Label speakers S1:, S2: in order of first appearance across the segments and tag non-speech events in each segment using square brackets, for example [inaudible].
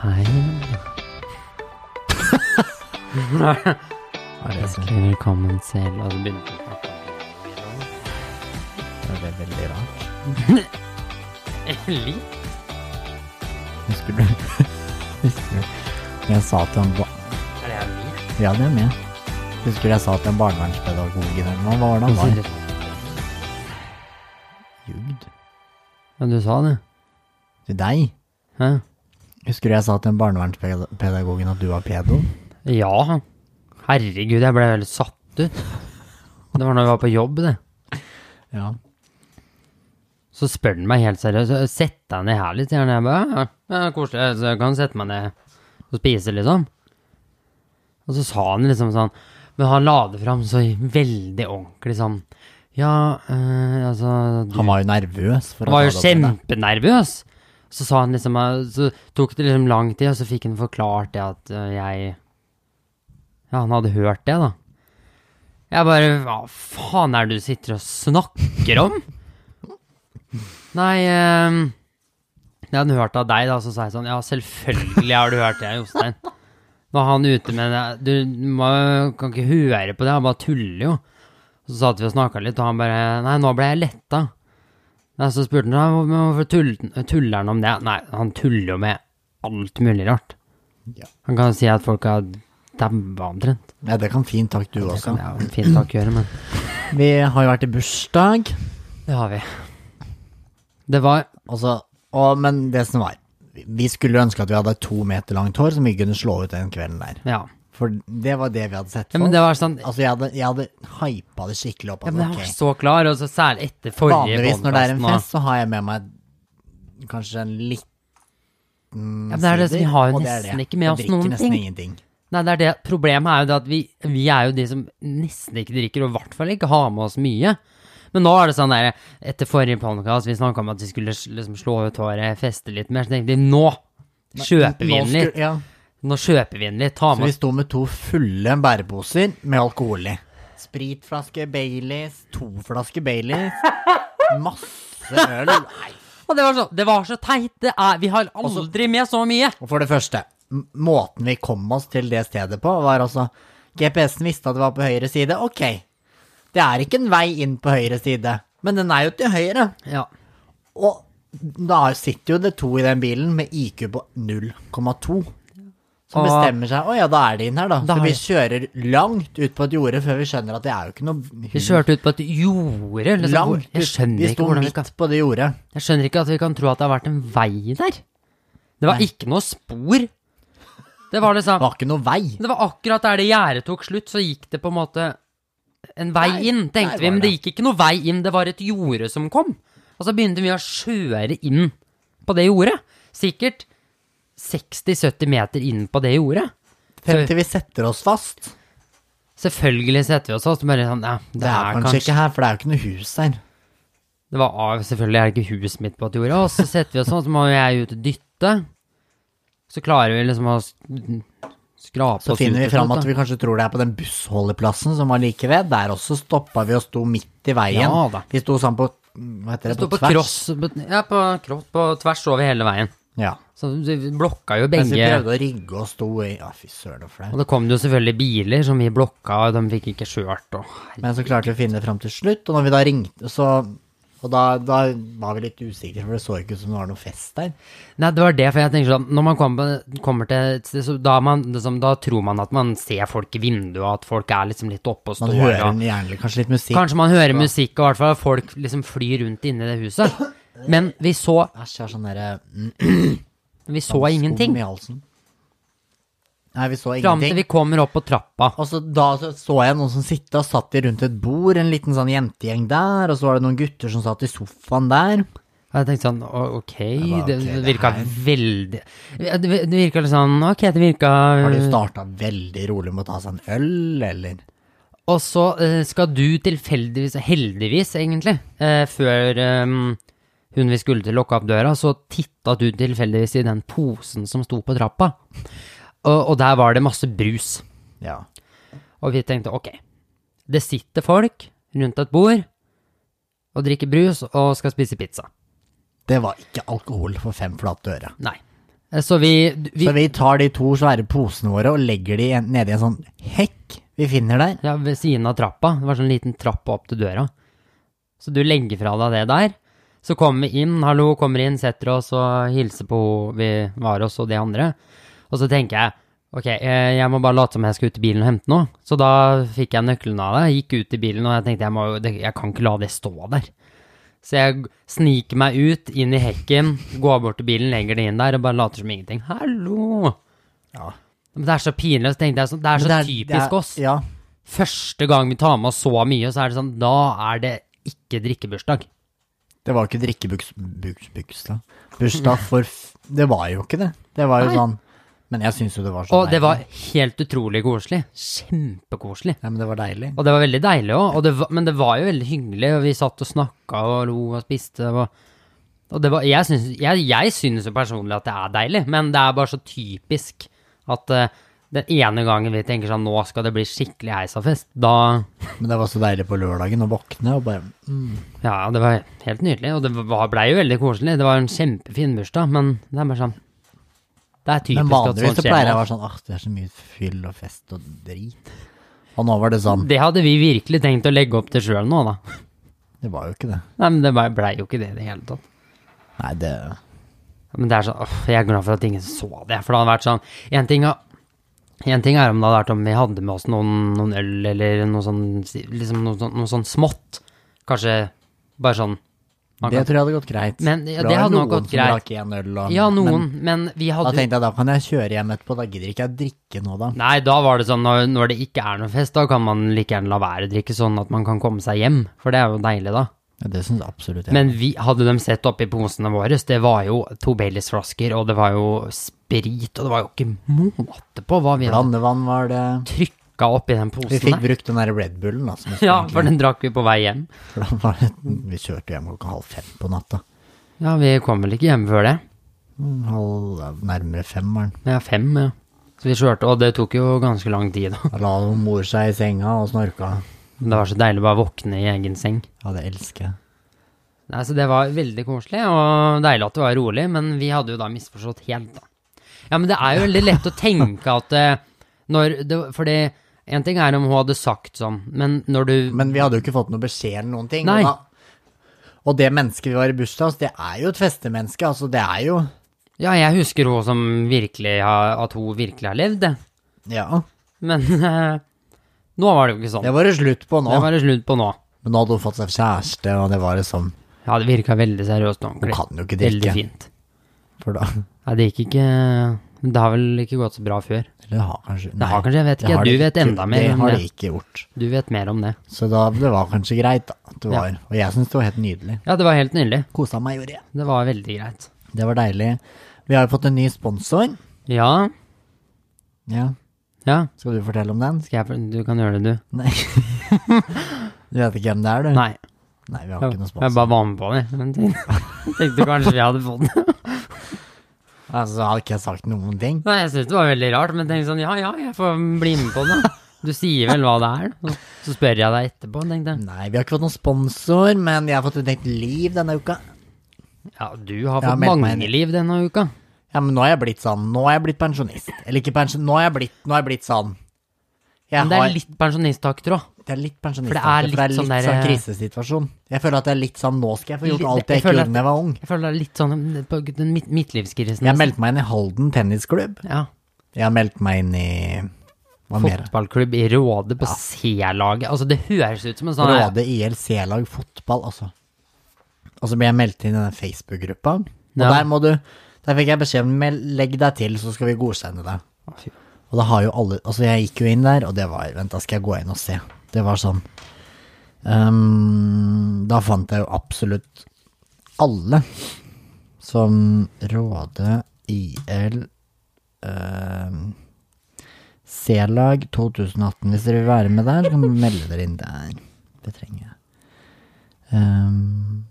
S1: Hei. Hjertelig velkommen til Og så begynte jeg å snakke om
S2: Det ble veldig rart.
S1: det. Litt.
S2: Husker du [laughs] Husker du Jeg sa til en ba
S1: Er det her litt?
S2: Ja, det er med. Husker du jeg sa til en barnevernspedagog i den? Hva var det han var? Jugd.
S1: Ja, du sa det.
S2: Til deg?
S1: Hæ?
S2: Husker du jeg sa til en barnevernspedagogen at du var pedo?
S1: Ja. Herregud, jeg ble veldig satt ut. Det var når vi var på jobb, det.
S2: Ja.
S1: Så spør den meg helt seriøst, «Så sett deg ned her litt, gjerne. Jeg bare, ja, ja, koselig, så jeg kan sette meg ned og spise, liksom. Og så sa han liksom sånn, men han la det fram så veldig ordentlig sånn, ja, eh, altså, du
S2: Han var jo nervøs. For å
S1: var
S2: ta
S1: jo
S2: det opp med deg.
S1: kjempenervøs. Så sa han liksom, eh, så tok det liksom lang tid, og så fikk han forklart det at eh, jeg, ja, han hadde hørt det da. Jeg bare, hva faen er det du sitter og snakker om? Nei, eh, jeg hadde hørt av deg da, så sa jeg sånn, ja, selvfølgelig har du hørt det, Jostein. Var han ute med det, du må, kan ikke høre på det, han bare tuller jo. Så satt vi og snakket litt, og han bare, nei, nå ble jeg letta. Nei, så spurte han, «Nei, men hvorfor tull- tuller han om det? Nei, han tuller jo med alt mulig rart.
S2: Ja.
S1: Han kan si at folk har dabba omtrent.
S2: Ja, det kan fint takk du
S1: Det
S2: også.
S1: kan jeg jo fint nok gjøre, men
S2: Vi har jo vært i bursdag,
S1: det har vi. Det var
S2: og så og, Men det som var Vi skulle ønske at vi hadde to meter langt hår som vi kunne slå ut den kvelden der.
S1: Ja.
S2: For det var det vi hadde sett
S1: ja
S2: for
S1: men det var sånn
S2: Altså, jeg hadde, jeg hadde hypa det skikkelig opp.
S1: ja,
S2: Altså,
S1: men Jeg
S2: ok.
S1: var så klar, og så særlig etter forrige
S2: Vanligvis når det er en
S1: podcasten, og-
S2: fest, så har jeg med meg kanskje en liten
S1: Ja, men det er det, som- vi har jo
S2: og det er
S1: nesten
S2: det.
S1: ikke med oss
S2: Jeg drikker
S1: noen
S2: nesten
S1: ting.
S2: ingenting.
S1: Nei, det er det. Problemet er jo det at vi, vi er jo de som nesten ikke drikker, og i hvert fall ikke har med oss mye. Men nå er det sånn der, etter forrige podcast, vi snakket om at vi skulle s- liksom slå ut håret, feste litt mer, så tenkte vi, nå kjøper vi
S2: Nå
S1: inn
S2: skulle-
S1: litt.
S2: Ja.
S1: Nå kjøper vi inn litt, ta
S2: Så vi
S1: med oss.
S2: sto med to fulle bæreposer med alkohol i. Spritflaske Baileys, to flasker Baileys, masse øl. Nei.
S1: Og det var så, det var så teit, det er, vi har
S2: Altså-
S1: aldri med så mye.
S2: Og for det første, m- måten vi kom oss til det stedet på, var altså GPS-en visste at det var på høyre side. Ok, det er ikke en vei inn på høyre side, men den er jo til høyre.
S1: Ja,
S2: Og da sitter jo det to i den bilen med IQ på 0,2. Som
S1: Og-
S2: bestemmer seg Å ja, da er det inn her, da.
S1: Da
S2: Så
S1: er
S2: vi
S1: det-
S2: kjører langt ut på et jorde før vi skjønner at det er jo ikke noe
S1: vi kjørte ut på et jorde, liksom. hvor-
S2: langt
S1: Jeg
S2: ut. Vi
S1: skjønner ikke
S2: sto
S1: hvordan vi kan,
S2: midt på det jordet.
S1: jeg skjønner ikke at vi kan tro at det har vært en vei der. Det var ikke noe spor. Det var liksom,
S2: Det var ikke noe vei.
S1: Det var akkurat der det gjerdet tok slutt, så gikk det på en måte en vei
S2: Der-
S1: inn,
S2: der
S1: tenkte vi.
S2: var
S1: Men det
S2: det.
S1: gikk ikke noe vei inn, det var et jorde som kom. Og så begynte vi å kjøre inn på det jordet. Sikkert 60-70 meter inn på det jordet.
S2: Frem til vi setter oss fast.
S1: Selvfølgelig setter vi oss oss, bare sånn, ja, det,
S2: Det er kanskje ikke her, for det er jo ikke noe hus her.
S1: Det var av, selvfølgelig er det ikke hus midt på et jorde. Og så setter vi oss sånn, så må jeg ut og dytte. Så klarer vi liksom å s- skrape oss
S2: Så
S1: ut
S2: finner vi
S1: til
S2: fram
S1: slutt,
S2: at
S1: da.
S2: vi kanskje tror det er på den bussholdeplassen som var like ved. Der også stoppa vi og sto midt i veien.
S1: Ja da.
S2: Vi sto sånn på Hva heter det?
S1: Stå på kross, ja, på, kross, på tvers over hele veien.
S2: Ja.
S1: Så vi blokka jo
S2: Mens vi
S1: begge.
S2: prøvde å rygge og sto i Ja, fy søren, så flaut.
S1: Og det kom jo selvfølgelig biler som vi blokka, og de fikk ikke kjørt. Og
S2: Men så klarte vi å finne det fram til slutt, og når vi da ringte, så Og da, da var vi litt usikre, for det så ikke ut som det var noe fest der.
S1: Nei, det var det, for jeg tenker sånn, når man kommer, på- kommer til et sted, så da, er man, liksom, da tror man at man ser folk i vinduet, at folk er liksom litt oppe og
S2: Man
S1: står.
S2: hører
S1: og-
S2: gjerne kanskje litt musikk.
S1: Kanskje man hører musikk, og i hvert fall at folk liksom flyr rundt inne i det huset. Men vi så,
S2: Æsj, jeg har sånn derre mm,
S1: vi så
S2: skum
S1: ingenting.
S2: i halsen. Nei, vi så
S1: Fram til
S2: ingenting.
S1: vi kommer opp på trappa.
S2: Og så da så, så jeg noen som sitta og satt de rundt et bord, en liten sånn jentegjeng der, og så var det noen gutter som satt i sofaen der.
S1: Og jeg tenkte sånn, å- ok,
S2: bare,
S1: det,
S2: ok,
S1: det
S2: det
S1: virka
S2: her-
S1: veldig Det det virka litt sånn, ok, det virka
S2: Har
S1: Mm.
S2: de starta veldig rolig med å ta seg en øl, eller?
S1: Og så eh, skal du tilfeldigvis, heldigvis egentlig, eh, før eh, hun vi skulle til lokka opp døra, så titta du tilfeldigvis i den posen som sto på trappa. Og, og der var det masse brus.
S2: Ja.
S1: Og vi tenkte ok, det sitter folk rundt et bord og drikker brus og skal spise pizza.
S2: Det var ikke alkohol for fem flate øre.
S1: Nei. Eh, Så vi, vi
S2: Så vi tar de to svære posene våre og legger de en- nedi en sånn hekk vi finner der.
S1: ja, ved siden av trappa. Det var sånn liten trapp opp til døra. Så du legger fra deg det der. Så kommer vi inn, hallo, kommer inn, setter oss og hilser på hun vi var hos og de andre. Og så tenker jeg, ok, eh, jeg må bare late som jeg skal ut i bilen og hente noe. Så da fikk jeg nøkkelen av det, gikk ut i bilen og jeg tenkte, jeg, må, jo- det- jeg kan ikke la det stå der. Så jeg g- sniker meg ut, inn i hekken, går bort til bilen, legger det inn der og bare later som ingenting. Hallo!
S2: Ja.
S1: Men det er så pinløst, tenkte jeg. sånn, Det er så
S2: Men det
S1: typisk
S2: det er-
S1: oss
S2: Ja.
S1: første gang vi tar med oss så mye, så er det sånn, da er det ikke drikkebursdag.
S2: Det var jo ikke drikkebursdag. Bursdag for f Det var jo ikke det. Det var jo
S1: Nei.
S2: sånn Men jeg syns jo det var så
S1: Og det
S2: deilig.
S1: var helt utrolig koselig. Kjempekoselig.
S2: Ja, men det var deilig.
S1: Og det var veldig deilig òg, og det var, men det var jo veldig hyggelig, og vi satt og snakka og lo og spiste. Og, og det var, jeg, syns, jeg, jeg synes jo personlig at det er deilig, men det er bare så typisk at eh, den ene gangen vi tenker sånn, nå skal det bli skikkelig heisafest, da
S2: Men det var så deilig på lørdagen å våkne og bare
S1: Ja, det var helt nydelig, og det var- blei jo veldig koselig. Det var en kjempefin bursdag, men det er bare sånn Det er typisk
S2: Men
S1: at
S2: vanligvis
S1: sånt
S2: så pleier jeg å
S1: skjer.
S2: være sånn Åh, det er så mye fyll og fest og drit. Og nå var det sånn
S1: nå. Det hadde vi virkelig tenkt å legge opp til sjøl nå, da.
S2: Det var jo ikke det.
S1: Nei, men det blei ble jo ikke det i det hele tatt.
S2: Nei, det
S1: Men det er sånn, åh, jeg er glad for at ingen så det, for det hadde vært sånn En ting, er- en ting er om det hadde vært om vi hadde med oss noen, noen øl eller noe sånn liksom noe, sånn- noe sånn smått. Kanskje bare sånn man
S2: Det
S1: kan,
S2: tror jeg hadde gått greit.
S1: Men, ja,
S2: For
S1: det
S2: var jo
S1: hadde nok
S2: noen
S1: gått
S2: som
S1: greit.
S2: drakk en Øl og,
S1: Ja,
S2: Men
S1: noen, men vi
S2: da
S1: hadde jo
S2: tenkte jeg da kan jeg kjøre hjem etterpå, da gidder ikke jeg drikke nå, da.
S1: Nei, da var det sånn når, når det ikke er noe fest, da kan man like gjerne la være å drikke, sånn at man kan komme seg hjem, for det er jo deilig, da.
S2: Ja, det syns jeg absolutt. Ja.
S1: Men vi hadde dem sett oppi posene våre, det var jo to Baileys-flasker, og det var jo sprit, og det var jo ikke måte på hva vi hadde
S2: Blandevann var det.
S1: trykka oppi den
S2: Vi
S1: posen der.
S2: fikk brukt den der Red Bullen, da. Som [laughs] vi
S1: [laughs]
S2: skulle
S1: Ja,
S2: egentlig-
S1: for den drakk vi på vei hjem.
S2: For da var det, vi kjørte hjem klokka halv fem på natta.
S1: Ja, vi kom vel ikke hjem før det.
S2: Mm, Halv, ja, nærmere fem var den.
S1: Ja, fem, ja. Så vi kjørte, og det tok jo ganske lang tid, da.
S2: Da la hun mor seg i senga og snorka.
S1: Men Det var så deilig å bare våkne i egen seng.
S2: Ja, det elsker jeg.
S1: Nei, så det var veldig koselig, og deilig at det var rolig, men vi hadde jo da misforstått helt, da. Ja, men det er jo veldig lett å tenke at eh, når det, Fordi en ting er om hun hadde sagt sånn, men når du
S2: Men vi hadde jo ikke fått noe beskjed eller noen ting.
S1: Nei.
S2: Og, da, og det mennesket vi var i bursdag hos, det er jo et festemenneske. Altså, det er jo
S1: Ja, jeg husker hun som virkelig har At hun virkelig har levd, det.
S2: Ja.
S1: Men eh, nå var det jo ikke sånn.
S2: Det var det slutt på nå.
S1: Det var det slutt på nå.
S2: Men nå hadde hun fått seg kjæreste, og det var liksom
S1: Ja, det virka veldig seriøst og
S2: Hun
S1: ordentlig.
S2: kan jo ikke
S1: Veldig
S2: drikke.
S1: fint.
S2: For da
S1: Nei, det gikk ikke Det har vel ikke gått så bra før.
S2: Eller har kanskje
S1: Det har kanskje, jeg vet
S2: det
S1: ikke.
S2: har
S1: Du
S2: det
S1: vet
S2: ikke-
S1: enda mer
S2: Det
S1: om
S2: har
S1: det.
S2: de ikke gjort.
S1: Du vet mer om det.
S2: Så da, det var kanskje greit, da. At det
S1: Ja.
S2: var. Og jeg syns det var helt nydelig.
S1: Ja, det var helt nydelig.
S2: Kosa meg, gjorde jeg.
S1: Det var veldig greit.
S2: Det var deilig. Vi har jo fått en ny sponsor.
S1: Ja,
S2: Ja,
S1: ja.
S2: Skal du fortelle om den?
S1: Skal jeg, for- du kan gjøre det, du.
S2: Nei. [laughs] du vet ikke hvem det er, du?
S1: Nei,
S2: Nei, vi har
S1: jeg,
S2: ikke noen
S1: jeg
S2: sponsor.
S1: bare var med på det. [laughs] Men tenkte, tenkte kanskje vi hadde fått det. [laughs]
S2: Altså, har ikke jeg sagt noen ting?
S1: Nei, jeg syntes det var veldig rart, men tenkte sånn, ja, ja, jeg får bli med på det. Du sier vel hva det er, og så spør jeg deg etterpå, tenkte jeg.
S2: Nei, vi har ikke fått noen sponsor, men jeg har fått et nytt liv denne uka.
S1: Ja, du har
S2: Jeg har
S1: fått
S2: meldt meg inn
S1: mange liv denne uka.
S2: Ja, men nå har jeg blitt sånn. Nå har jeg blitt pensjonist. Eller ikke pensjonist, nå har jeg blitt, nå har jeg blitt sånn. Jeg
S1: Men det
S2: har-
S1: er litt pensjonisttakter òg.
S2: det er litt pensjonist.
S1: for det er
S2: altså,
S1: litt sånn
S2: litt
S1: der-
S2: sånn krisesituasjon. Jeg føler at det er litt sånn, nå skal jeg få
S1: Litt-
S2: gjort alt jeg
S1: jeg
S2: ikke
S1: føler
S2: gjorde da jeg var ung.
S1: Jeg føler det er litt sånn på den midt, midtlivskrisen.
S2: Jeg meldte meg inn i Halden tennisklubb.
S1: Ja,
S2: Jeg har meldt meg inn i Hva mer?
S1: fotballklubb i Råde på C-laget. Altså, det høres ut som en sånn
S2: Råde ILC-lag fotball, altså. Og så ble jeg meldt inn i den Facebook-gruppa. Og
S1: Ja.
S2: der må du Der fikk jeg beskjed om mel- legg deg til, så skal vi godkjenne deg. Og da har jo alle Altså, jeg gikk jo inn der, og det var Vent, da skal jeg gå inn og se. Det var sånn ehm, Da fant jeg jo absolutt alle som Råde IL ehm, C-lag 2018. Hvis dere vil være med der, så kan dere melde dere inn der. Det trenger jeg. Ehm,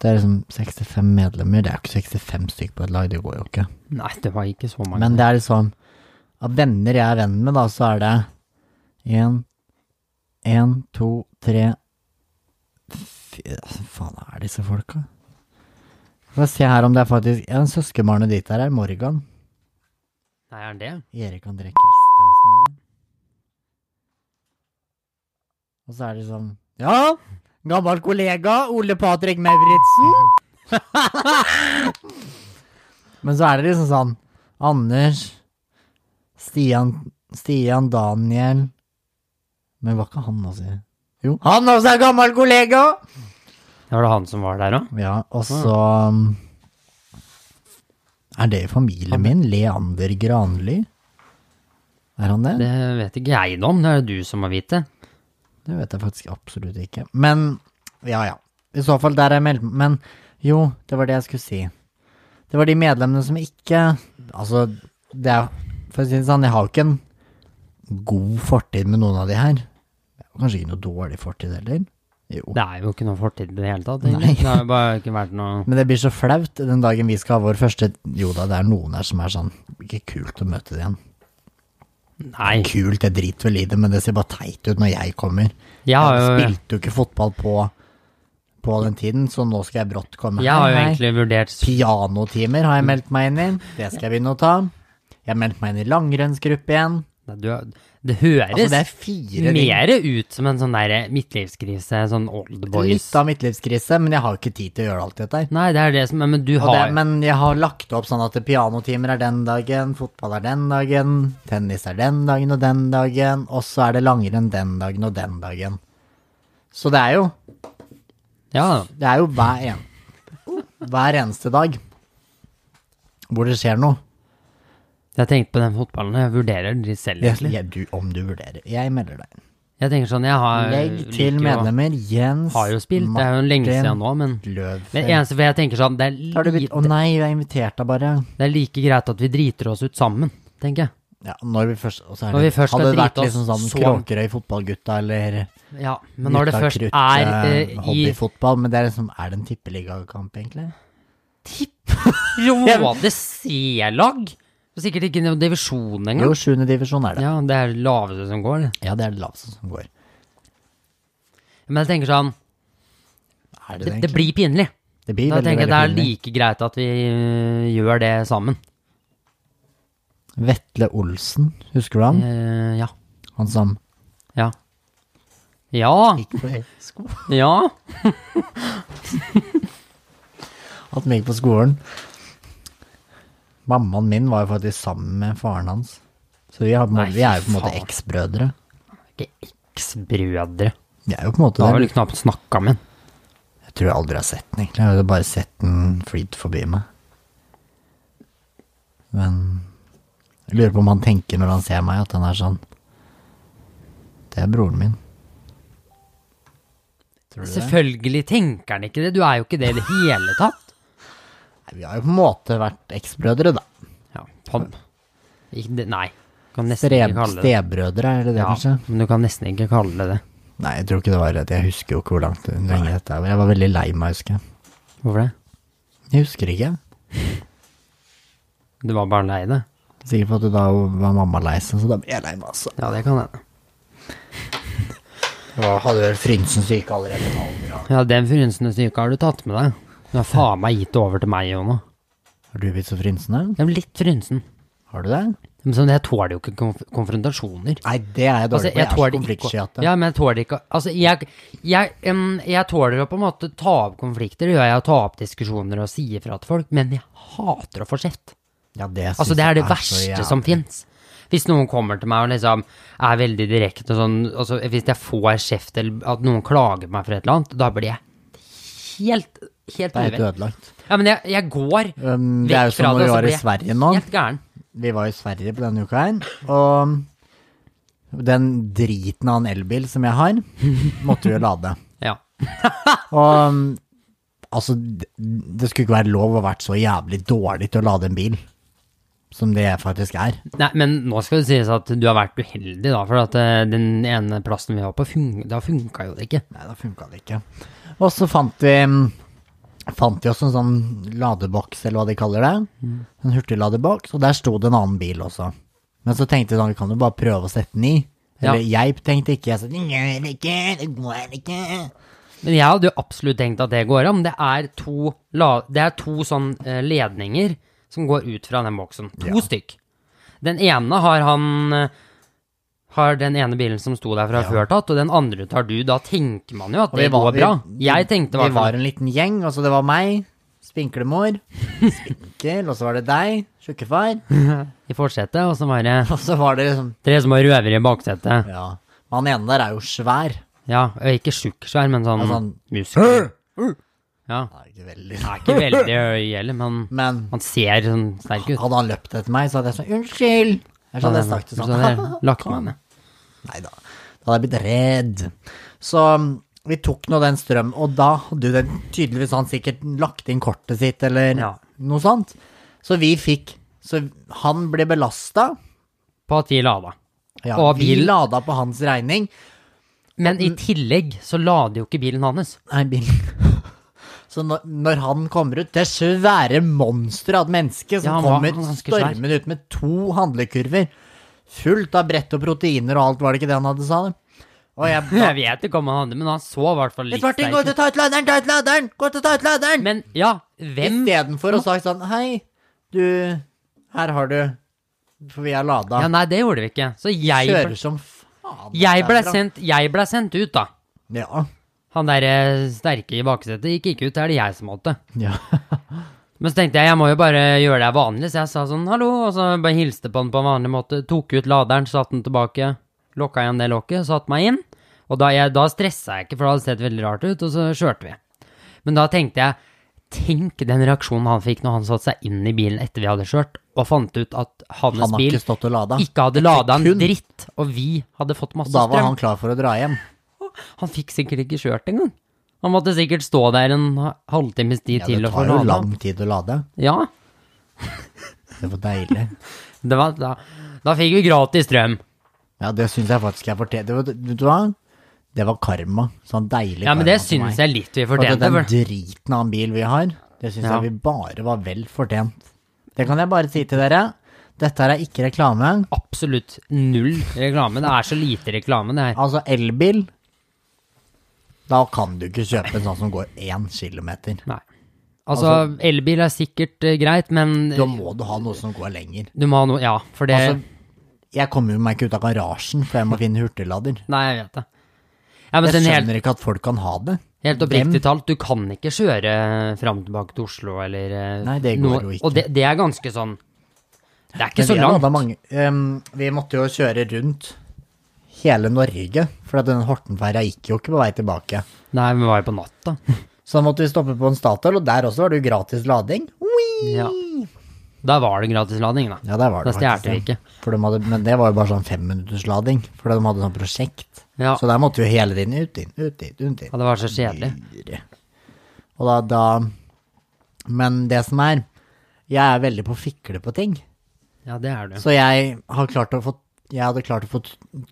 S2: det er liksom 65 medlemmer. Det er jo ikke 65 stykk på et lag, det går jo ikke.
S1: Nei, det var ikke så mange.
S2: Men det er liksom Av venner jeg er venn med, da, så er det én, én, to, tre Fy, faen, hva er disse folka? Få se her om det er faktisk Ja, søskenbarnet ditt her er Morgan.
S1: Nei, er det?
S2: Erik André Kristiansen, eller? Og så er det sånn Ja! Gammel kollega Ole Patrick Mauritzen. [laughs] Men så er det liksom sånn Anders Stian, Stian Daniel Men var ikke han også Jo, han også er gammel kollega!
S1: Ja, Var det han som var der òg?
S2: Ja, og så um, Er det i familien min? Leander Granli? Er han det? det?
S1: Det vet ikke jeg noe om, det er det du som må vite.
S2: vet jeg faktisk absolutt ikke. Men ja, ja. I så fall, der er jeg meldt Men jo, det var det jeg skulle si. Det var de medlemmene som ikke Altså, det er For å si det sånn, jeg har jo ikke en god fortid med noen av de her. Kanskje ikke noe dårlig fortid heller. Jo.
S1: Det er jo ikke noe fortid i det hele tatt. egentlig. Det har jo bare ikke vært noe
S2: Men det blir så flaut den dagen vi skal ha vår første Jo da, det er noen her som er sånn Ikke kult å møte det igjen.
S1: Nei.
S2: Kult, jeg driter vel i det, men det ser bare teit ut når jeg kommer.
S1: Jeg har
S2: jeg
S1: jo,
S2: spilte jo ikke fotball på, på den tiden, så nå skal jeg brått komme.
S1: jeg har jo
S2: Hei, hei.
S1: egentlig vurdert
S2: Pianotimer har jeg meldt meg inn i. Det skal jeg begynne å ta. Jeg har meldt meg inn i langrennsgruppe igjen.
S1: Nei, du, er- Det
S2: Altså,
S1: høres
S2: det er fire ting.
S1: mer ut som en sånn der midtlivskrise, sånn old boys.
S2: Litt av midtlivskrise, men jeg har jo ikke tid til å gjøre alt dette her.
S1: Nei, det er det som er, men du
S2: Og det,
S1: har
S2: men jeg har lagt opp sånn at pianotimer er den dagen, fotball er den dagen, tennis er den dagen og den dagen, og så er det langrenn den dagen og den dagen. Så det er jo,
S1: Ja,
S2: det er jo hver, en, hver eneste dag hvor det skjer noe.
S1: jeg tenkte på den fotballen, jeg vurderer de selv, egentlig.
S2: Jeg, du, om du vurderer. Jeg melder deg.
S1: Jeg tenker sånn, jeg har
S2: Legg
S1: liker
S2: til
S1: jo-
S2: medlemmer Jens
S1: Har jo spilt, det er jo lenge siden nå, men det
S2: Løvfeldt.
S1: eneste for jeg tenker sånn, det er,
S2: Har du
S1: li,
S2: begynt- Å nei, jeg inviterte deg bare.
S1: det er like greit at vi driter oss ut sammen, tenker jeg.
S2: Ja, når vi først, og så er
S1: Når
S2: det-
S1: vi først
S2: Hadde
S1: skal
S2: det vært
S1: drite oss
S2: liksom sånn
S1: så-
S2: Kråkerøy fotballgutta eller
S1: Ja, men når det
S2: Gutta
S1: først
S2: krutt,
S1: er
S2: eh,
S1: eh, i
S2: Hobbyfotball, men det er liksom Er det en tippeligakamp, egentlig?
S1: [laughs] Råde C-lag? Og Sikkert ikke noen divisjon
S2: Jo,
S1: engang.
S2: sjuende divisjon er det.
S1: Ja, det er det laveste som går. det.
S2: Ja. det er det laveste som går.
S1: Men jeg tenker sånn,
S2: Er
S1: det,
S2: det det,
S1: det
S2: egentlig?
S1: blir pinlig.
S2: Det blir
S1: Da
S2: veldig,
S1: tenker jeg
S2: veldig
S1: det er
S2: pinlig.
S1: like greit at vi øh, gjør det sammen.
S2: Vetle Olsen, husker du han?
S1: Eh, ja.
S2: Han som
S1: Ja. Ja.
S2: gikk på sko
S1: Ja.
S2: Han som gikk på skolen. Mammaen min var jo faktisk sammen med faren hans. Så vi, har, på en måte-
S1: Nei,
S2: vi er jo på en måte
S1: faen.
S2: eksbrødre.
S1: Ikke eksbrødre.
S2: Vi er jo på en måte
S1: Da har vel
S2: det.
S1: knapt snakka med den.
S2: Jeg tror jeg aldri har sett den, egentlig. Jeg har jo bare sett den flyte forbi meg. Men jeg lurer på om han tenker når han ser meg, at han er sånn Det er broren min. Tror du det?
S1: Selvfølgelig tenker han ikke det. Du er jo ikke det i det hele tatt.
S2: Nei, Vi har jo på en måte vært eksbrødre, da.
S1: Ja, pan. Ikke, det- nei. Du kan nesten
S2: Streb,
S1: ikke kalle det det.
S2: stebrødre, er det det,
S1: Ja,
S2: kanskje?
S1: men du kan nesten ikke kalle det det.
S2: Nei, jeg tror ikke det var det. Jeg husker jo ikke hvor langt lenge dette er. men Jeg var veldig lei meg, husker jeg.
S1: Hvorfor det?
S2: Jeg husker ikke.
S1: Du var bare lei deg?
S2: Sikkert fordi da var mamma lei seg, så da ble jeg lei meg altså. også.
S1: Ja, det kan hende.
S2: Jeg hadde vel frynsen syk allerede. nå.
S1: Ja, den frynsende syke har du tatt med deg. Du har faen meg gitt det over til meg òg nå.
S2: Har du blitt så frynsende?
S1: Jeg er litt frynsen.
S2: Har du det?
S1: Men sånn, jeg tåler jo ikke konf konfrontasjoner.
S2: Nei, det er jeg
S1: Altså,
S2: dårlig
S1: jeg
S2: på. Jeg er så
S1: tåler ikke
S2: konfliktsky at det-
S1: Ja, men jeg tåler ikke Altså, jeg, jeg, em, jeg tåler å på en måte ta opp konflikter, det gjør jeg, og ta opp diskusjoner og si ifra til folk, men jeg hater å få kjeft.
S2: Ja, det synes
S1: Altså, det
S2: jeg
S1: er det
S2: så
S1: verste
S2: jævlig.
S1: som fins. Hvis noen kommer til meg og liksom er veldig direkte og sånn, altså hvis jeg får kjeft eller at noen klager meg for et eller annet, da blir jeg helt, helt
S2: Det er helt
S1: uvel.
S2: ødelagt.
S1: Ja, men jeg, jeg går
S2: Um,
S1: Mm, vekk
S2: det er jo som
S1: fra
S2: når
S1: det,
S2: vi
S1: og så
S2: var i
S1: blir jeg
S2: Sverige nå.
S1: helt gæren.
S2: Vi var i Sverige på denne uka her, og den driten av en elbil som jeg har, måtte vi jo lade.
S1: Ja.
S2: Og um, altså, d- det skulle ikke være lov å ha vært så jævlig dårlig til å lade en bil som det jeg faktisk er.
S1: Nei, men nå skal det sies at du har vært uheldig, da, for at eh, den ene plassen vi var på, fun da funka jo det ikke.
S2: Nei, da funka det ikke. Og så fant vi Fant vi oss en sånn ladeboks, eller hva de kaller det. En hurtigladeboks, og der sto det en annen bil også. Men så tenkte vi sånn, vi kan jo bare prøve å sette den i. Eller jeg tenkte ikke, jeg sa det gjør det ikke, det går ikke.
S1: Men jeg hadde jo absolutt tenkt at det går an. Det er to, la, det er to sånn eh, ledninger som går ut fra den boksen. To stykk. Den ene har han eh, Har den ene bilen som sto der fra før tatt, og den andre tar du. Da tenker man jo at
S2: Og
S1: det
S2: vi var-
S1: går bra.
S2: vi-
S1: jeg tenkte i
S2: Vi
S1: hvert fall
S2: var en liten gjeng, altså det var meg, spinklemor, spinkel, og så var det deg, tjukkefar,
S1: i forsetet, og så var det
S2: [laughs] og så var det liksom
S1: tre små røvere i baksetet.
S2: Ja. Han ene der er jo svær.
S1: Ja, og ikke tjukk svær, men sånn
S2: Altså, han-
S1: muskel. Ja.
S2: Nei, ikke veldig.
S1: Han er ikke veldig høy heller, men
S2: [laughs] Men
S1: han ser sånn sterk ut.
S2: hadde han løpt etter meg, så hadde jeg sånn Unnskyld! Jeg hadde jeg sagt det
S1: Så
S2: sånn.
S1: hadde jeg lagt meg ned.
S2: [laughs] Nei da. Da hadde jeg blitt redd. Så mm, vi tok nå den strøm, og da hadde jo den tydeligvis han sikkert lagt inn kortet sitt, eller
S1: Ja.
S2: noe sånt. Så vi fikk Så han ble belasta.
S1: På at vi lada.
S2: Ja,
S1: Og
S2: vi
S1: bil-
S2: lada på hans regning.
S1: Men i
S2: Mm.
S1: tillegg så lader jo ikke bilen hans.
S2: Nei, bilen [laughs] Så når, når han kommer ut, det svære monsteret av et menneske som
S1: Ja, han var
S2: kommer
S1: ganske svær.
S2: stormende ut med to handlekurver, fullt av brett og proteiner og alt, var det ikke det han hadde, sa det? Og
S1: [laughs]
S2: jeg
S1: Jeg vet ikke om han hadde, men han så i hvert fall litt
S2: Litt Martin, gå ut og ta ut laderen, ta ut laderen! Gå ut og ta ut laderen!
S1: Men ja, hvem
S2: Istedenfor å sagt sånn Hei, du, her har du For vi er lada.
S1: Ja, nei, det gjorde vi ikke. Så jeg
S2: Kjører
S1: ble,
S2: som faen.
S1: jeg ble,
S2: derfra.
S1: sendt, jeg ble sendt ut, da.
S2: Ja.
S1: Han derre sterke i baksetet gikk ikke ut, det er det jeg som måtte.
S2: ja.
S1: Men så tenkte jeg jeg må jo bare gjøre det vanlig, så jeg sa sånn hallo, og så bare hilste på han på en vanlig måte. Tok ut laderen, satte den tilbake, lokka igjen det lokket, satte meg inn. Og da, jeg, da stressa jeg ikke, for det hadde sett veldig rart ut, og så kjørte vi. Men da tenkte jeg Tenk den reaksjonen han fikk når han satte seg inn i bilen etter vi hadde kjørt, og fant ut at hans
S2: Han har
S1: bil
S2: ikke stått og lada.
S1: ikke hadde lada en
S2: sekund.
S1: dritt, og vi hadde fått masse
S2: Da var
S1: strøm.
S2: han klar for å dra hjem.
S1: Han, fikk sikkert ikke kjørt engang. Han måtte sikkert stå der en halvtimes tid
S2: Ja,
S1: til
S2: det
S1: og få
S2: tar jo
S1: lada.
S2: lang tid å lade.
S1: Ja,
S2: Det var deilig.
S1: Det var, da, da fikk vi gratis strøm.
S2: Ja, det syns jeg faktisk jeg fortjente. Det var- Vet du hva? Det var karma. Sånn deilig
S1: Ja, men
S2: karma
S1: det
S2: til meg.
S1: syns jeg litt vi
S2: For at
S1: fortjente.
S2: Den
S1: For.
S2: driten av en bil vi har, det syns
S1: Ja.
S2: jeg vi bare var vel fortjent. Det kan jeg bare si til dere. Dette her er ikke reklame.
S1: Absolutt null reklame. Det er så lite reklame, det her.
S2: Altså, elbil Da kan du ikke kjøpe en sånn som går én kilometer.
S1: Nei. Altså, elbil er sikkert eh, greit, men
S2: Da må du ha noe som går lenger.
S1: du må ha noe Ja, for det
S2: Altså, jeg kommer jo meg ikke ut av garasjen, for jeg må finne hurtiglader.
S1: Nei, jeg vet det. Ja, men
S2: Jeg
S1: sånn helt,
S2: skjønner ikke at folk kan ha det.
S1: helt
S2: Hvem-
S1: oppriktig talt, du kan ikke kjøre fram og tilbake til Oslo eller eh,
S2: Nei, det går
S1: noe-
S2: jo ikke.
S1: Og det, det er ganske sånn Det er ikke så
S2: Men vi hadde
S1: langt.
S2: mange, ehm, vi måtte jo kjøre rundt hele Norge, for at den Hortenferja gikk jo ikke på vei tilbake.
S1: Nei, vi var jo på
S2: [laughs]
S1: natta.
S2: Så da måtte vi stoppe på en Statoil, og der også var det jo gratis lading. Ui!
S1: Ja. Da var det gratislading, da.
S2: Ja, der var det
S1: Da stjal vi
S2: faktisk det.
S1: ikke.
S2: For de hadde, men det var jo bare sånn femminutterslading, for de hadde sånn prosjekt.
S1: Ja.
S2: Så der måtte vi jo hele tiden ut inn, ut inn, ut inn.
S1: ja, det var så kjedelig.
S2: Dyre. Og da, da Men det som er, jeg er veldig på å fikle på ting.
S1: Ja, det er du.
S2: Så jeg har klart å få Jeg hadde klart å få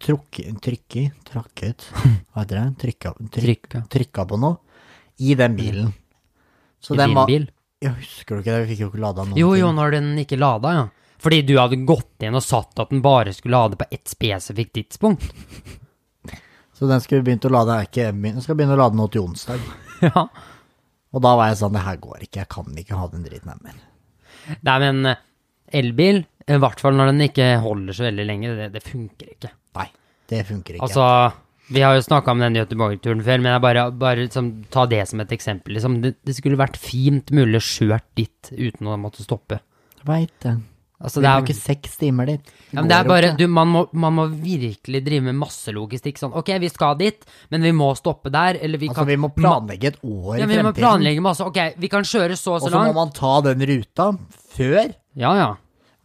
S2: trukket Trykke Trakket
S1: [laughs]
S2: Hva heter det? Trykka, tryk,
S1: Trykka.
S2: trykka på noe i den bilen. Så
S1: I
S2: den
S1: din
S2: var-
S1: bil.
S2: Ja, husker du ikke det? Vi fikk jo ikke lada noen
S1: Jo, jo,
S2: ting.
S1: når den ikke lada, ja. Fordi du hadde gått inn og satt at den bare skulle lade på ett spesifikt tidspunkt.
S2: Så den skulle begynt å lade, er ikke, den skal begynne å lade nå til onsdag.
S1: [laughs] ja.
S2: Og da var jeg sånn, det her går ikke, jeg kan ikke ha den driten her mer.
S1: Nei, men eh, elbil, i hvert fall når den ikke holder så veldig lenge, det, det funker ikke.
S2: Nei, det funker ikke.
S1: Altså, vi har jo snakka om den Göteborg-turen før, men jeg bare, bare liksom, ta det som et eksempel. Liksom. Det, det skulle vært fint mulig å kjørt dit uten å måtte stoppe.
S2: Veit det.
S1: Altså, det
S2: Vi
S1: er,
S2: bruker seks timer dit.
S1: Ja, men det er
S2: går
S1: bare,
S2: jo ikke.
S1: du, man, må, man må virkelig drive med masse logistikk. Sånn, ok, vi skal dit, men vi må stoppe der, eller vi
S2: Altså,
S1: kan
S2: vi må planlegge et år
S1: Ja,
S2: i
S1: vi må
S2: fremtiden.
S1: planlegge masse. Ok, vi kan kjøre så og
S2: Og
S1: så
S2: så må
S1: langt.
S2: man ta den ruta før
S1: Ja, ja.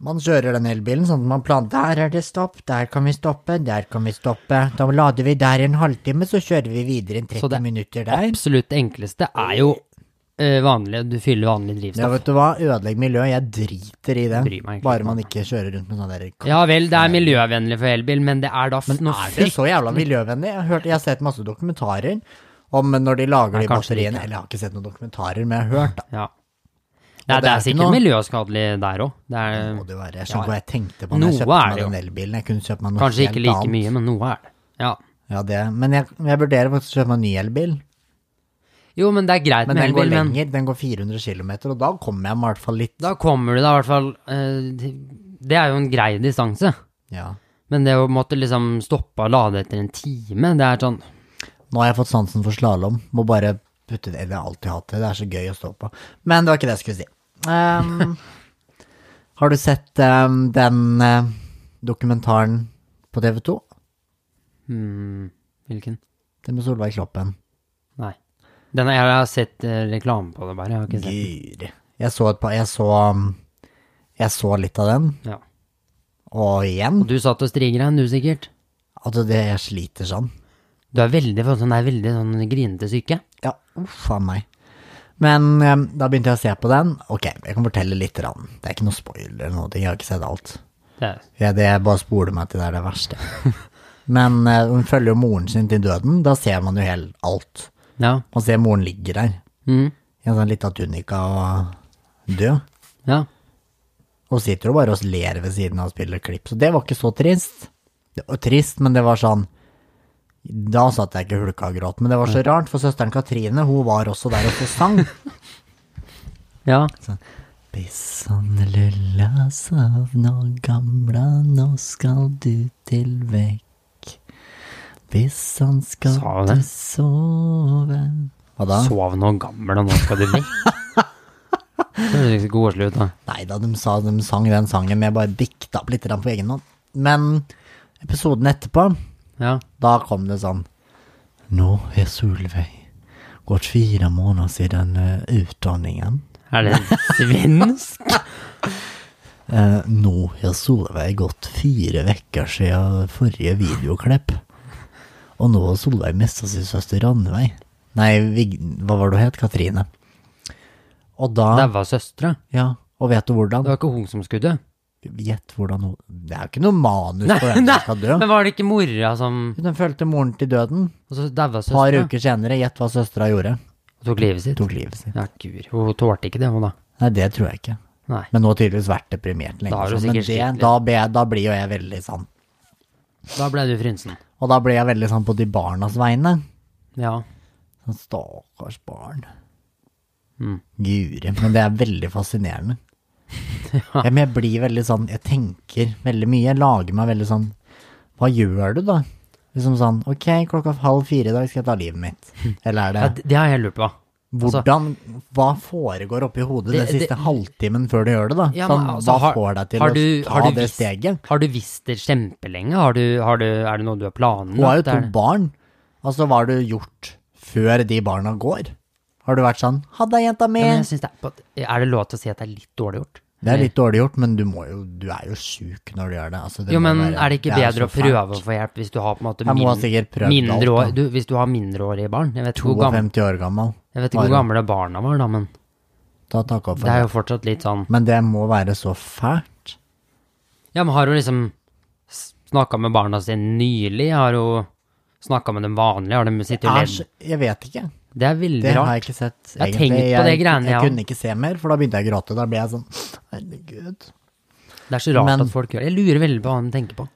S2: man kjører den elbilen, sånn at man plan... Der er det stopp, der kan vi stoppe, der kan vi stoppe. Da lader vi der i en halvtime, så kjører vi videre i 30
S1: det-
S2: minutter der.
S1: Absolutt det enkleste er jo eh, vanlig Du fyller vanlig
S2: Ja,
S1: drivstoff.
S2: vet du hva, ødelegg miljøet, jeg driter i det.
S1: Bryr meg egentlig
S2: Bare
S1: ikke
S2: man
S1: om
S2: ikke kjører rundt med sånn der
S1: Ja vel, det er miljøvennlig for elbil, men det er da f- noe
S2: Er det
S1: frykt.
S2: så jævla miljøvennlig? Jeg har, hørt, jeg har sett masse dokumentarer om når de lager de
S1: kanskje
S2: batteriene. Eller jeg har ikke sett noen dokumentarer, men jeg har hørt, da.
S1: Ja. Nei,
S2: Og
S1: det
S2: det er
S1: er
S2: ikke
S1: sikkert
S2: noe-
S1: miljøskadelig der òg. Det
S2: Det
S1: er
S2: Må det jo være. Jeg skjønner ikke hva jeg tenkte på
S1: Noe
S2: når jeg kjøpte
S1: er
S2: meg
S1: det
S2: den elbilen. Jeg kunne kjøpt meg noe
S1: kanskje
S2: helt
S1: ikke like
S2: annet.
S1: mye, men noe er det. Ja.
S2: Ja, det. Men jeg, jeg vurderer faktisk å kjøpe meg en ny elbil.
S1: Jo, men det er greit
S2: Men
S1: med
S2: den går
S1: elbil, men
S2: lenger, den går 400 km, og da kommer jeg meg i hvert fall litt.
S1: da kommer du deg i hvert fall eh, Det er jo en grei distanse.
S2: Ja.
S1: Men det å måtte liksom stoppe og lade etter en time, det er sånn
S2: Nå har jeg fått sansen for slalåm. Må bare putte det Eller jeg har alltid hatt det. Det er så gøy å stå på. Men det var ikke det jeg skulle si.
S1: [laughs]
S2: Ehm, har du sett ehm, den eh, dokumentaren på TV 2?
S1: hmm, Hvilken?
S2: Den med Solveig Kloppen.
S1: Nei. Den jeg har sett eh, reklame på det, bare. Jeg har ikke sett
S2: Guri. Jeg så et par Jeg så um, Jeg så litt av den,
S1: ja.
S2: og igjen
S1: Og du satt og strigra, du sikkert?
S2: Altså, det jeg sliter sånn.
S1: Du er veldig for sånn, er veldig sånn grinete syke.
S2: Ja, uff a meg. Men em, da begynte jeg å se på den. Ok, jeg kan fortelle litt. Rann. Det er ikke noe spoiler eller noe. Jeg har ikke sett alt.
S1: Det er,
S2: Ja, det bare spoler meg til det er det verste. Men eh, hun følger jo moren sin til døden, da ser man jo helt alt.
S1: ja.
S2: Man ser moren ligger der,
S1: Mm,
S2: i en sånn lita tunika og død.
S1: ja.
S2: Og sitter jo bare og ler ved siden av og spiller klipp, så det var ikke så trist. Det var trist, men det var sånn Da satt jeg ikke hulka og gråt, men det var så rart, for søsteren Katrine, hun var også der og så sang.
S1: Ja.
S2: Bissan lilla sovn og gamla, nå skal du til vekk. Bissan skal
S1: Sa hun det?
S2: du sove. Hva da?
S1: Sov nå gammel, og nå skal du vekk. [laughs] Det høres ikke god slutt, da.
S2: Nei da, de, sa, de sang den sangen, men jeg bare dikta opp litt grann på egen hånd. Men episoden etterpå,
S1: Ja.
S2: da kom det sånn Nå er Solveig gått fire måneder siden eh, utdanningen.
S1: Er det [laughs] svensk?
S2: Eh, nå har Solveig gått fire vekker siden forrige videoklipp. Og nå har Solveig mista sin søster Rannveig. Nei, Vig hva var det hun het? Katrine. Og da
S1: Daua søstera.
S2: Ja, og vet du hvordan?
S1: Det var ikke hun som skulle dø.
S2: Gjett hvordan hun Det er jo ikke noe manus
S1: Nei,
S2: for hvem
S1: nei,
S2: som skal dø.
S1: Men var det ikke mora som
S2: Hun fulgte moren til døden.
S1: Og så daua
S2: Et par
S1: søstera.
S2: uker senere, gjett hva søstera gjorde?
S1: Hun tok livet sitt.
S2: Tok livet sitt.
S1: Ja, guri. Hun tålte ikke det, hun da.
S2: Nei, det tror jeg ikke.
S1: Nei.
S2: Men nå har hun tydeligvis vært deprimert lenge.
S1: Da har hun
S2: sånn, men
S1: sikkert slitt
S2: det,
S1: litt.
S2: da, be, da blir jo jeg veldig sånn.
S1: Da ble du frynsen.
S2: Og da blir jeg veldig sånn på de barnas vegne.
S1: Ja.
S2: Sånn stakkars barn.
S1: Mm.
S2: Guri. Men det er veldig
S1: [laughs]
S2: fascinerende. ja. Men jeg blir veldig sånn, jeg tenker veldig mye. Jeg lager meg veldig sånn Hva gjør du, da? Liksom sånn Ok, klokka halv fire i dag skal jeg ta livet
S1: [laughs]
S2: mitt. Eller
S1: ja
S2: er det
S1: det, det har jeg lurt på. altså-
S2: Hvordan Hva foregår oppi hodet den
S1: Det-
S2: siste
S1: det-
S2: halvtimen før du gjør det, da?
S1: Ja, men
S2: sånn,
S1: altså,
S2: hva
S1: har-
S2: får deg til
S1: har
S2: å
S1: du- har
S2: ta
S1: du
S2: det
S1: visst-
S2: steget?
S1: Har du visst det kjempelenge? Har du, har du, er det noe du har planlagt?
S2: Hun har jo to
S1: Er det-
S2: barn. Altså, hva har du gjort før de barna går? Har du vært sånn Ha det, jenta mi!
S1: Ja, men jeg synes det er, på- er det lov til å si at det er litt dårlig gjort?
S2: Det er litt dårlig gjort, men du, må jo, du er jo sjuk når du gjør det. Altså, det
S1: Jo,
S2: må
S1: men
S2: være-
S1: er det ikke
S2: er
S1: bedre
S2: så
S1: å prøve
S2: fælt.
S1: å få hjelp hvis du har på en måte
S2: Jeg må ha sikkert prøvd
S1: mindre
S2: alt, da.
S1: år, du, hvis du har mindreårige barn? Jeg vet ikke hvor gamle,
S2: 52 år gammel.
S1: jeg vet ikke hvor
S2: Bare.
S1: gamle barna var da, men
S2: Da takker jeg for
S1: det er
S2: det.
S1: jo fortsatt litt sånn
S2: Men det må være så fælt.
S1: Ja, men har hun liksom snakka med barna sine nylig? Har hun snakka med dem vanlig? Har de sittet og
S2: Er
S1: ledd?
S2: så, jeg vet ikke.
S1: Det er veldig
S2: Det har
S1: rart.
S2: jeg ikke sett.
S1: Jeg har tenkt på det greiene,
S2: jeg,
S1: ja.
S2: kunne ikke se mer, for da begynte jeg å gråte. Da ble jeg sånn Herregud.
S1: Det er så rart
S2: Men-
S1: at folk gjør det. Jeg lurer veldig på hva han tenker på.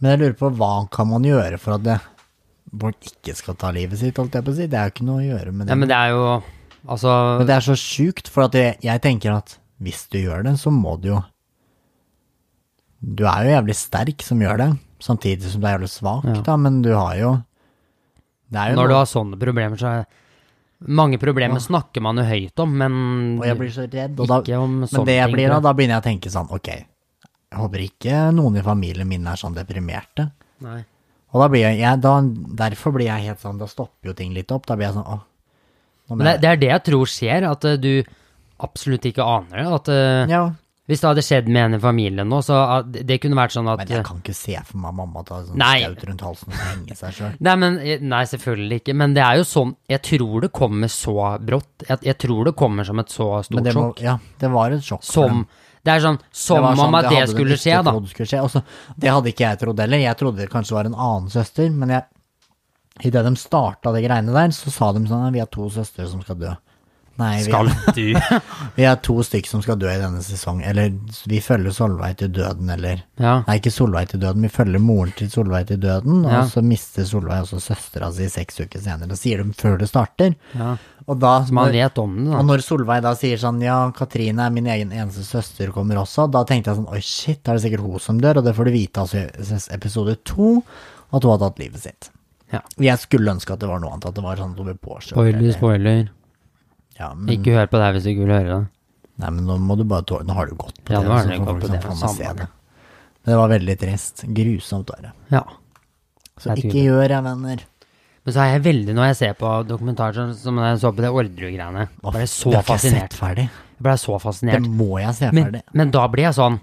S2: Men jeg lurer på hva kan man gjøre for at det, folk ikke skal ta livet sitt, holdt jeg på å si. Det er jo ikke noe å gjøre med det.
S1: Ja, men det er jo Altså
S2: Men det er så sjukt, for at jeg, jeg tenker at hvis du gjør det, så må du jo Du er jo jævlig sterk som gjør det, samtidig som du er jævlig svak,
S1: Ja.
S2: da, men du har jo Det er jo
S1: Når du
S2: noe,
S1: har sånne problemer, så er Mange problemer snakker man jo høyt om, men
S2: Og jeg blir så redd, og da
S1: ikke om sånne
S2: Men det jeg
S1: ting.
S2: blir da,
S1: tror jeg.
S2: da begynner jeg å tenke sånn, ok Jeg håper ikke noen i familien min er sånn deprimerte.
S1: Nei.
S2: Og da blir jeg, jeg da, Derfor blir jeg helt sånn Da stopper jo ting litt opp. Da blir jeg sånn åh. nå må
S1: Men det,
S2: jeg-
S1: det er det jeg tror skjer, at eh, du absolutt ikke aner det. At eh,
S2: ja.
S1: hvis det hadde skjedd med en i familien nå, så at det kunne vært sånn at
S2: Men jeg kan ikke se for meg mamma ta sånn
S1: Nei.
S2: skaut rundt halsen og henge seg sjøl.
S1: Nei, men, eh, nei, selvfølgelig ikke. Men det er jo sånn Jeg tror det kommer så brått. Jeg, jeg tror det kommer som et så
S2: Men
S1: stort
S2: det, må,
S1: sjokk.
S2: ja, det var et sjokk. for dem.
S1: Som Det er sånn Som
S2: var
S1: om
S2: sånn,
S1: at det
S2: hadde de
S1: skulle
S2: ikke
S1: skje, da.
S2: trodd skulle skje. Også, det hadde ikke jeg trodd heller. Jeg trodde det kanskje var en annen søster, men jeg, i det de starta de greiene der, så sa de sånn, vi har to søstre som skal dø. Nei, vi, [laughs]
S1: Skal du
S2: vi er to stykker som skal dø i denne sesong. Eller vi følger Solveig til døden, eller
S1: Ja.
S2: Nei, ikke Solveig til døden. Vi følger moren til Solveig til døden, og
S1: Ja.
S2: så mister Solveig også søstera si seks uker senere. Det sier de før det starter.
S1: ja.
S2: Og da
S1: Så man vet om det,
S2: Og
S1: da.
S2: når Solveig da sier sånn ja, Katrine er min egen eneste søster kommer også, da tenkte jeg sånn oi shit, da er det sikkert hun som dør, og det får du vite altså i episode to, at hun har tatt livet sitt.
S1: Ja.
S2: Jeg skulle ønske at det var noe annet, at det var sånn at hun ble påkjørt.
S1: Spoiler,
S2: eller-
S1: spoiler.
S2: Ja, men,
S1: Ikke hør på det her hvis du ikke vil høre det.
S2: nei, men nå må du bare tåle, nå har du gått på
S1: Ja,
S2: det,
S1: nå har
S2: så
S1: du gått
S2: får folk
S1: på
S2: sånn
S1: det,
S2: faen meg
S1: samme
S2: se
S1: det.
S2: det. Det var veldig trist. Grusomt var det.
S1: Ja.
S2: Så
S1: Jeg
S2: ikke
S1: tror det.
S2: gjør jeg, venner.
S1: Men så er jeg veldig, når jeg ser på dokumentarer sånn som når jeg så på det Orderud-greiene
S2: Å,
S1: Ble jeg så
S2: det har ikke jeg
S1: fascinert.
S2: sett ferdig.
S1: Jeg ble så
S2: Det
S1: fascinert.
S2: må jeg se
S1: Men,
S2: ferdig.
S1: men da blir jeg sånn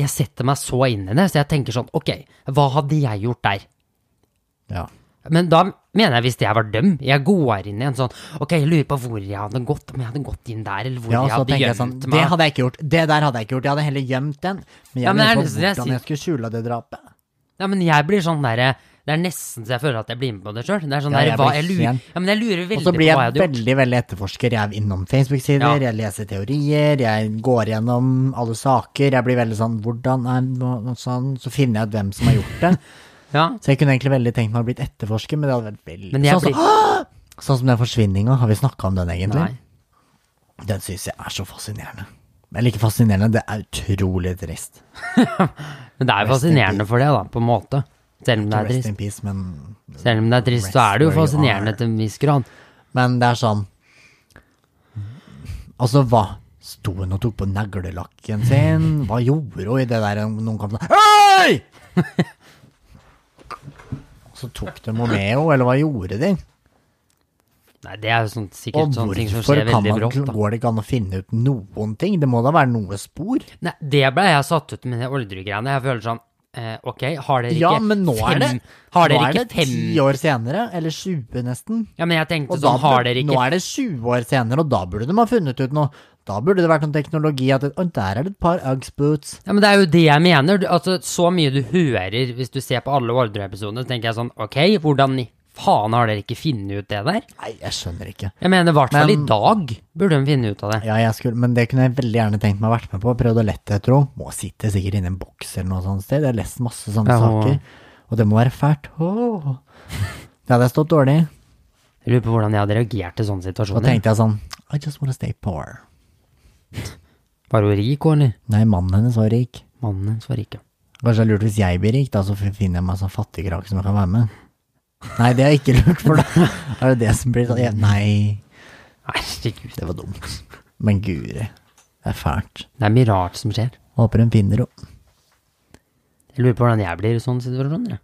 S1: Jeg setter meg så inn i det, så jeg tenker sånn Ok, hva hadde jeg gjort der?
S2: Ja.
S1: Men da mener jeg hvis jeg var døm. Jeg går inn i en sånn Ok, jeg lurer på hvor jeg hadde gått, om jeg hadde gått inn der, eller hvor
S2: Ja,
S1: jeg
S2: så
S1: hadde
S2: tenker jeg
S1: gjemt
S2: sånn, det
S1: meg.
S2: hadde jeg ikke gjort. Det der hadde jeg ikke gjort. Jeg hadde heller gjemt den. Men jeg
S1: Ja,
S2: ja,
S1: men det er
S2: lurer på
S1: nesten det jeg
S2: hvordan jeg skulle skjule det drapet.
S1: Ja, men jeg blir sånn derre Det er nesten så jeg føler at jeg blir med på det sjøl. Det er sånn
S2: Ja,
S1: der,
S2: jeg
S1: hva
S2: blir
S1: jeg lurer
S2: helt-
S1: Ja, men jeg lurer
S2: Og
S1: veldig
S2: så
S1: på hva
S2: blir
S1: jeg
S2: jeg
S1: hadde gjort.
S2: veldig, veldig etterforsker. Jeg er innom Facebook-sider,
S1: Ja.
S2: jeg leser teorier, jeg går gjennom alle saker. Jeg blir veldig sånn, hvordan er det nå- nå sånn? Så finner jeg ut hvem som har gjort
S1: [laughs]
S2: det.
S1: Ja,
S2: Så jeg kunne egentlig veldig tenkt meg å blitt etterforsker, men det hadde vært veldig...
S1: men jeg
S2: sånn, som-
S1: blir
S2: sånn som den forsvinninga, har vi snakka om den egentlig?
S1: Nei.
S2: Den syns jeg er så fascinerende. Eller ikke fascinerende, det er utrolig trist.
S1: Men det er jo
S2: Rest in
S1: fascinerende for det, da, på en måte. Selv om det er
S2: Rest
S1: trist.
S2: in peace, men
S1: Selv om det er trist, så
S2: Rest
S1: er det jo
S2: where you
S1: fascinerende
S2: are.
S1: til en viss grad.
S2: Men det er sånn Altså, hva? Sto hun og tok på neglelakken sin? Hva gjorde hun i det der noen kom sånn Hei! Så tok de henne med henne, eller hva gjorde de?
S1: Nei, det er jo sånn, sikkert
S2: Og
S1: sånne ting som
S2: hvorfor
S1: skjer
S2: kan
S1: veldig
S2: man,
S1: brått, da.
S2: går det ikke an å finne ut noen ting? Det må da være noe spor?
S1: Nei, det ble jeg satt ut med de Orderud-greiene. Jeg føler sånn eh, Ok, har dere ikke
S2: Ja, men nå er det
S1: fem- Har
S2: Nå
S1: dere
S2: er det
S1: ikke fem
S2: ti år senere, eller 20 nesten.
S1: Ja, men jeg tenkte
S2: Og da
S1: sånn, har
S2: burde-
S1: dere
S2: Nå
S1: ikke
S2: er det 20 år senere, og da burde de ha funnet ut noe. Da burde det vært noen teknologi at Å, der er det et par Uggs boots.
S1: Ja, men det er jo det jeg mener. Du, altså, så mye du hører hvis du ser på alle Orderud-episodene, så tenker jeg sånn Ok, hvordan i faen har dere ikke funnet ut det der?
S2: Nei, jeg skjønner ikke.
S1: Jeg mener i hvert fall i
S2: Men-
S1: dag burde de finne ut av det.
S2: Ja, jeg skulle, men det kunne jeg veldig gjerne tenkt meg å vært med på. Prøvd å lette etter henne. Må sitte sikkert inne i en boks eller noe sånt sted. Jeg har lest masse sånne
S1: Ja, hun-
S2: saker. Og det må være fælt. Åh. Det hadde jeg stått dårlig i.
S1: Jeg lurer på hvordan jeg hadde reagert til sånne
S2: Da
S1: situasjoner.
S2: tenkte jeg sånn I just wanna stay poor.
S1: Var hun rik, eller?
S2: Nei, mannen hennes var rik.
S1: Mannen hennes var rik, ja.
S2: Kanskje det er lurt hvis jeg blir rik, da, så finner jeg meg en sånn fattigkrake som jeg kan være med. Nei, det er ikke lurt, for da [laughs] er det det som blir sånn jeg- Nei,
S1: [laughs] Herregud.
S2: det var dumt. Men guri, det er fælt.
S1: Det er mye rart som skjer.
S2: Håper hun finner henne.
S1: Jeg lurer på hvordan jeg blir i sånne situasjoner. jeg.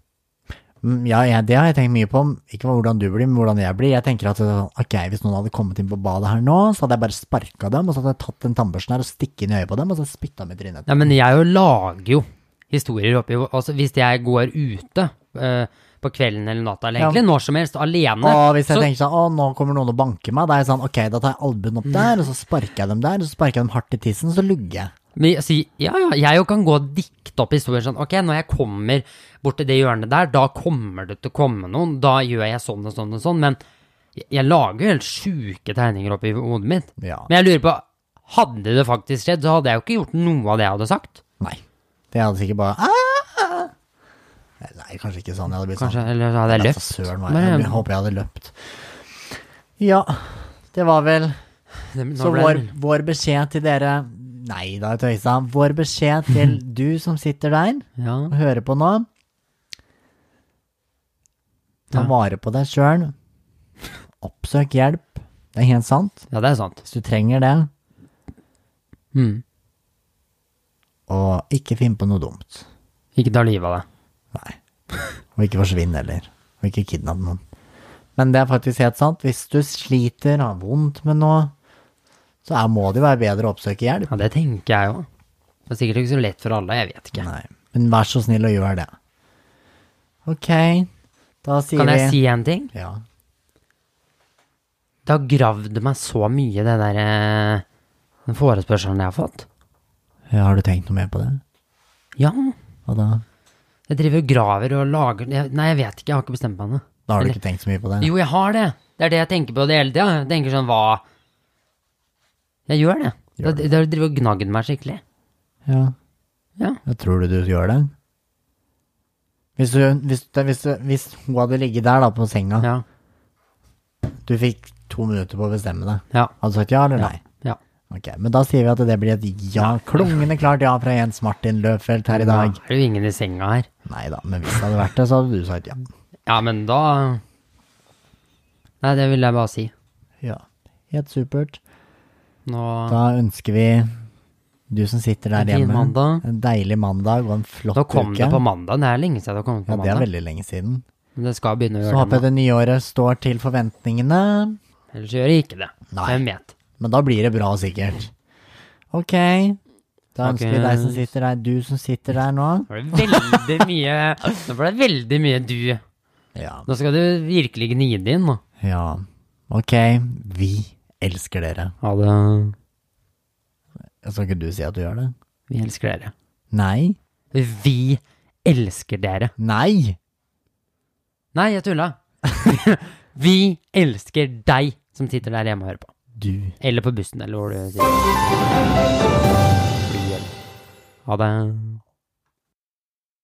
S2: Mm, Ja, jeg, det har jeg tenkt mye på. Ikke hvordan du blir, men hvordan jeg blir. Jeg tenker at det er sånn, ok, Hvis noen hadde kommet inn på badet her nå, så hadde jeg bare sparka dem, og så hadde jeg tatt den tannbørsten her og stikket inn i øyet på dem, og så spytta med trynet.
S1: Ja, men jeg jo lager jo historier oppi Altså, hvis jeg går ute eh, på kvelden eller natta, eller
S2: Ja.
S1: egentlig når som helst, alene
S2: Og hvis jeg
S1: så,
S2: tenker sånn, å, nå kommer noen og banker meg, da er jeg sånn, ok, da tar jeg albuen opp der, og så sparker jeg dem der, og så sparker jeg dem hardt i tissen, så lugger jeg.
S1: Men jeg sier, ja, ja, jeg jo kan gå og dikte opp historier sånn, ok, når jeg kommer bort til det hjørnet der, da kommer det til å komme noen, da gjør jeg sånn og sånn og sånn, men jeg, jeg lager jo helt sjuke tegninger oppi hodet mitt.
S2: Ja.
S1: Men jeg lurer på, hadde det faktisk skjedd, så hadde jeg jo ikke gjort noe av det jeg hadde sagt.
S2: Nei. Det hadde sikkert bare «Ah!» Nei, kanskje ikke sånn. Jeg hadde blitt
S1: Kanskje,
S2: sånn.
S1: eller så hadde jeg
S2: «Ja,
S1: løpt.
S2: så Søren, hva
S1: Men-
S2: jeg, jeg håper jeg hadde løpt. Ja, det var vel
S1: Nå
S2: Så
S1: ble
S2: vår,
S1: det-
S2: vår beskjed til dere Nei da, tøysa. Vår beskjed
S1: [laughs]
S2: til du som sitter der
S1: Ja,
S2: og hører på nå Ta
S1: Ja.
S2: vare på deg sjøl. Oppsøk hjelp. Det er helt sant.
S1: ja, det er sant.
S2: Hvis du trenger det.
S1: Mm.
S2: Og ikke finn på noe dumt.
S1: Ikke ta livet av deg.
S2: Nei. Og ikke forsvinn heller. Og ikke kidnapp noen. Men det er faktisk helt sant. Hvis du sliter, har vondt med noe, så er, må det jo være bedre å oppsøke hjelp.
S1: Ja, det tenker jeg jo. Det er sikkert ikke så lett for alle, jeg vet ikke.
S2: Nei. Men vær så snill og gjør det. Ok, da sier
S1: Kan jeg
S2: vi
S1: si en ting?
S2: Ja.
S1: Det har gravd meg så mye, det der, eh, den forespørselen jeg har fått.
S2: ja. Har du tenkt noe mer på det?
S1: Ja,
S2: Og da,
S1: jeg driver og graver og lager jeg, Nei, jeg vet ikke, jeg har ikke bestemt meg ennå.
S2: da har du
S1: Eller-
S2: ikke tenkt så mye på det?
S1: Jo, jeg har det. Det er det jeg tenker på det hele tida. Jeg tenker sånn hva Jeg gjør det.
S2: Gjør
S1: det. Det har drevet og gnagd meg skikkelig.
S2: Ja.
S1: Ja.
S2: Jeg tror du du gjør det. Hvis, du, hvis, det- hvis, du, hvis hun hadde ligget der da på senga,
S1: Ja.
S2: du fikk to minutter på å bestemme deg,
S1: Ja.
S2: hadde du sagt ja eller nei?
S1: ja.
S2: Ok, men da sier vi at det blir et ja, klungende klart ja fra Jens Martin Løfelt her i dag.
S1: Da er det jo ingen i senga her.
S2: Nei da, men hvis det hadde vært det, så hadde du sagt ja.
S1: Ja, men da Nei, det vil jeg bare si.
S2: Ja, helt supert.
S1: Nå
S2: Da ønsker vi du som sitter
S1: En
S2: der
S1: fin
S2: hjemme,
S1: mandag.
S2: en deilig mandag og en flott
S1: Nå kom
S2: uke.
S1: det på mandag. Det er lenge siden det har kommet på
S2: ja, det er
S1: mandag.
S2: veldig lenge siden.
S1: Men det skal begynne å
S2: Så
S1: gjøre
S2: håper
S1: det.
S2: jeg det nye året står til forventningene,
S1: nå. Ellers gjør det ikke det.
S2: Nei.
S1: Hvem vet.
S2: men da blir det bra sikkert. Ok, da ønsker vi deg som sitter der, du som sitter der nå.
S1: Nå ble det veldig
S2: [laughs]
S1: mye Nå ble det veldig mye du.
S2: Ja,
S1: Nå skal du virkelig gni det inn, nå.
S2: ja. ok, vi elsker dere.
S1: Ha det.
S2: Skal ikke du si at du gjør det?
S1: Vi elsker dere.
S2: Nei.
S1: Vi elsker dere.
S2: Nei!
S1: Nei, jeg tulla. [laughs] Vi elsker deg som sitter der hjemme og hører på.
S2: Du.
S1: Eller på bussen, eller hvor du sitter. Ha det.